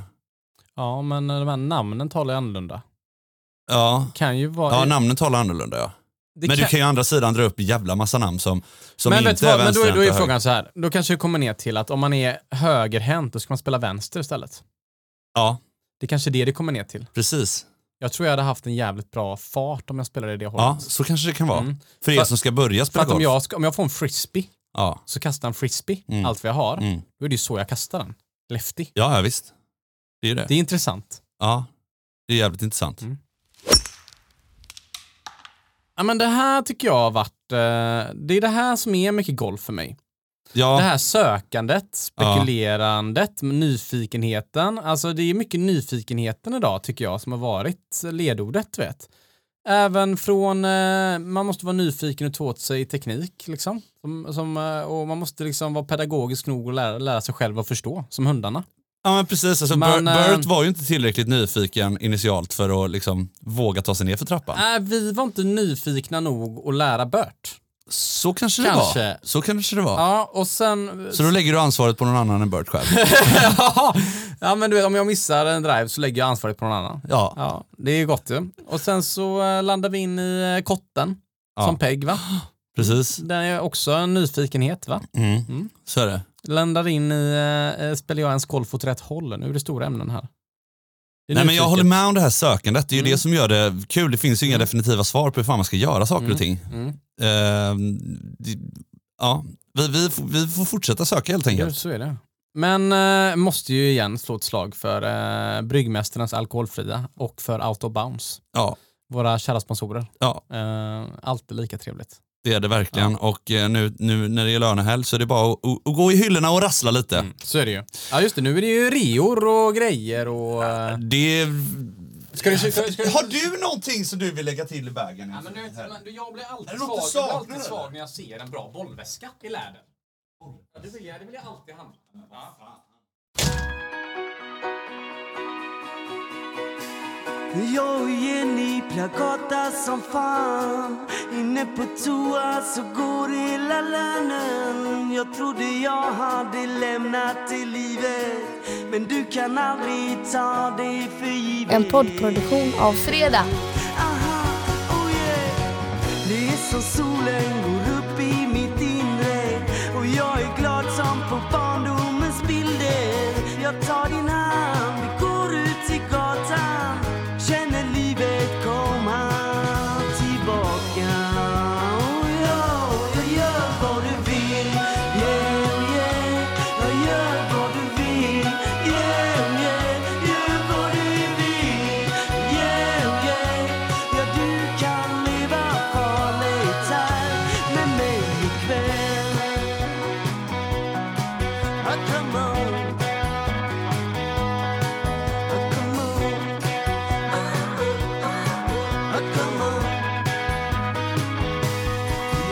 Speaker 1: Ja, men de här namnen talar ju annorlunda.
Speaker 2: Ja,
Speaker 1: Kan ju vara...
Speaker 2: ja namnen talar annorlunda ja.
Speaker 1: det
Speaker 2: men du kan ju å andra sidan dra upp en jävla massa namn som, som
Speaker 1: men vet
Speaker 2: inte
Speaker 1: du
Speaker 2: är
Speaker 1: vad, men då, är-
Speaker 2: vänsterhänta
Speaker 1: då är
Speaker 2: höger.
Speaker 1: frågan så här. Då kanske det kommer ner till att om man är högerhänt, då ska man spela vänster istället.
Speaker 2: Ja,
Speaker 1: Det är kanske är det det kommer ner till.
Speaker 2: precis.
Speaker 1: Jag tror jag hade haft en jävligt bra fart om jag spelade i det
Speaker 2: Ja,
Speaker 1: hållet.
Speaker 2: så kanske det kan vara.
Speaker 1: Mm.
Speaker 2: För er
Speaker 1: För-
Speaker 2: som ska börja
Speaker 1: För
Speaker 2: spela
Speaker 1: att om
Speaker 2: golf.
Speaker 1: jag, ska, om jag får en frisbee,
Speaker 2: Ja.
Speaker 1: så kastar en frisbee,
Speaker 2: Mm.
Speaker 1: allt vad jag har,
Speaker 2: Mm.
Speaker 1: då är det ju så jag kastar den. Lefty.
Speaker 2: ja, ja visst. Det är ju det.
Speaker 1: Det är intressant.
Speaker 2: Ja, det är jävligt intressant.
Speaker 1: Mm. Ja, men det här tycker jag har varit... eh, Det är det här som är mycket golf för mig.
Speaker 2: Ja,
Speaker 1: Det här sökandet, spekulerandet, nyfikenheten. Alltså det är mycket nyfikenheten idag tycker jag som har varit ledordet. Vet. Även från, eh, man måste vara nyfiken och ta åt sig teknik liksom. Som, som, eh, och man måste liksom vara pedagogisk nog och lära, lära sig själv att förstå, som hundarna.
Speaker 2: ja men precis. Alltså,
Speaker 1: Man,
Speaker 2: Bert,
Speaker 1: eh,
Speaker 2: Bert var ju inte tillräckligt nyfiken initialt för att liksom, våga ta sig ner för trappan.
Speaker 1: Nej, Äh, vi var inte nyfikna nog att lära Bert.
Speaker 2: Så kanske det var.
Speaker 1: Kanske.
Speaker 2: Så kanske det var.
Speaker 1: Ja, och sen...
Speaker 2: Så då lägger du ansvaret på någon annan än
Speaker 1: [laughs]
Speaker 2: Bert själv.
Speaker 1: ja, men du vet, om jag missar en drive så lägger jag ansvaret på någon annan.
Speaker 2: Ja.
Speaker 1: Ja, det är gott ju. Och sen så eh, landar vi in i eh, kotten
Speaker 2: Ja.
Speaker 1: som Peg va?
Speaker 2: Precis. Mm.
Speaker 1: Den är också en nyfikenhet va? Mm.
Speaker 2: Så är det.
Speaker 1: Landar in i, eh, eh, spelar jag en golf åt rätt håll? Nu är det stora ämnen här. Det är Mm.
Speaker 2: Nej, men jag
Speaker 1: nyfiken.
Speaker 2: håller med om det här sökandet. Det är ju det som gör det kul. Det finns ju inga definitiva svar på hur fan man ska göra saker och ting.
Speaker 1: Mm.
Speaker 2: Ehm, det, ja. vi, vi, får- vi får fortsätta söka helt
Speaker 1: Ja,
Speaker 2: enkelt.
Speaker 1: så är det. Men eh, måste ju igen slå ett slag för eh, Bryggmästarnas alkoholfria och för Out of Bounds.
Speaker 2: Ja,
Speaker 1: Våra kära sponsorer.
Speaker 2: ja
Speaker 1: Eh, alltid lika trevligt.
Speaker 2: det är det verkligen. Och eh, nu, nu när det är lönehelg så är det bara att, att, att gå i hyllorna och rassla lite.
Speaker 1: Mm. Så är det ju. Ja just det, nu är det ju reor och grejer och... eh,
Speaker 2: Det...
Speaker 1: Ska du... Ska, ska,
Speaker 2: Har du någonting som du vill lägga till i bagen?
Speaker 1: Ja, men du vet, men du- jag blir
Speaker 2: Är
Speaker 1: alltid
Speaker 2: det något
Speaker 1: svag, jag
Speaker 2: du
Speaker 1: blir
Speaker 2: saknar,
Speaker 1: alltid
Speaker 2: eller?
Speaker 1: svag när jag ser en bra bollväska i läder. Ja, det, vill jag, det vill jag alltid handla.
Speaker 5: Jag och Jenny plakata som fan Inne på toa så går hela lönen Jag trodde jag hade lämnat det livet Men du kan aldrig ta det för givet
Speaker 6: En poddproduktion av Fredag.
Speaker 5: Aha, oh yeah. Det är som solen går upp i mitt inre Och jag är glad som på barndomens bilder Jag tar din hand, vi går ut till gatan Känner livet komma tillbaka Och jag, jag gör vad du vill Yeah, yeah Jag gör vad du vill Yeah, yeah Gör vad du vill Yeah, yeah Ja, du kan leva farligt här med mig ikväll Ah, come on Ah, come on Ah, come on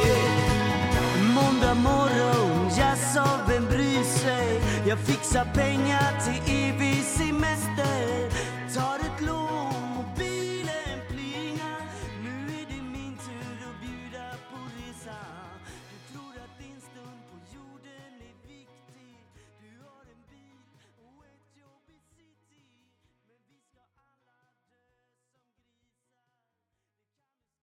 Speaker 5: Yeah Måndag morgon, jaså vem bryr sig? Jag fixar pengar till evig semester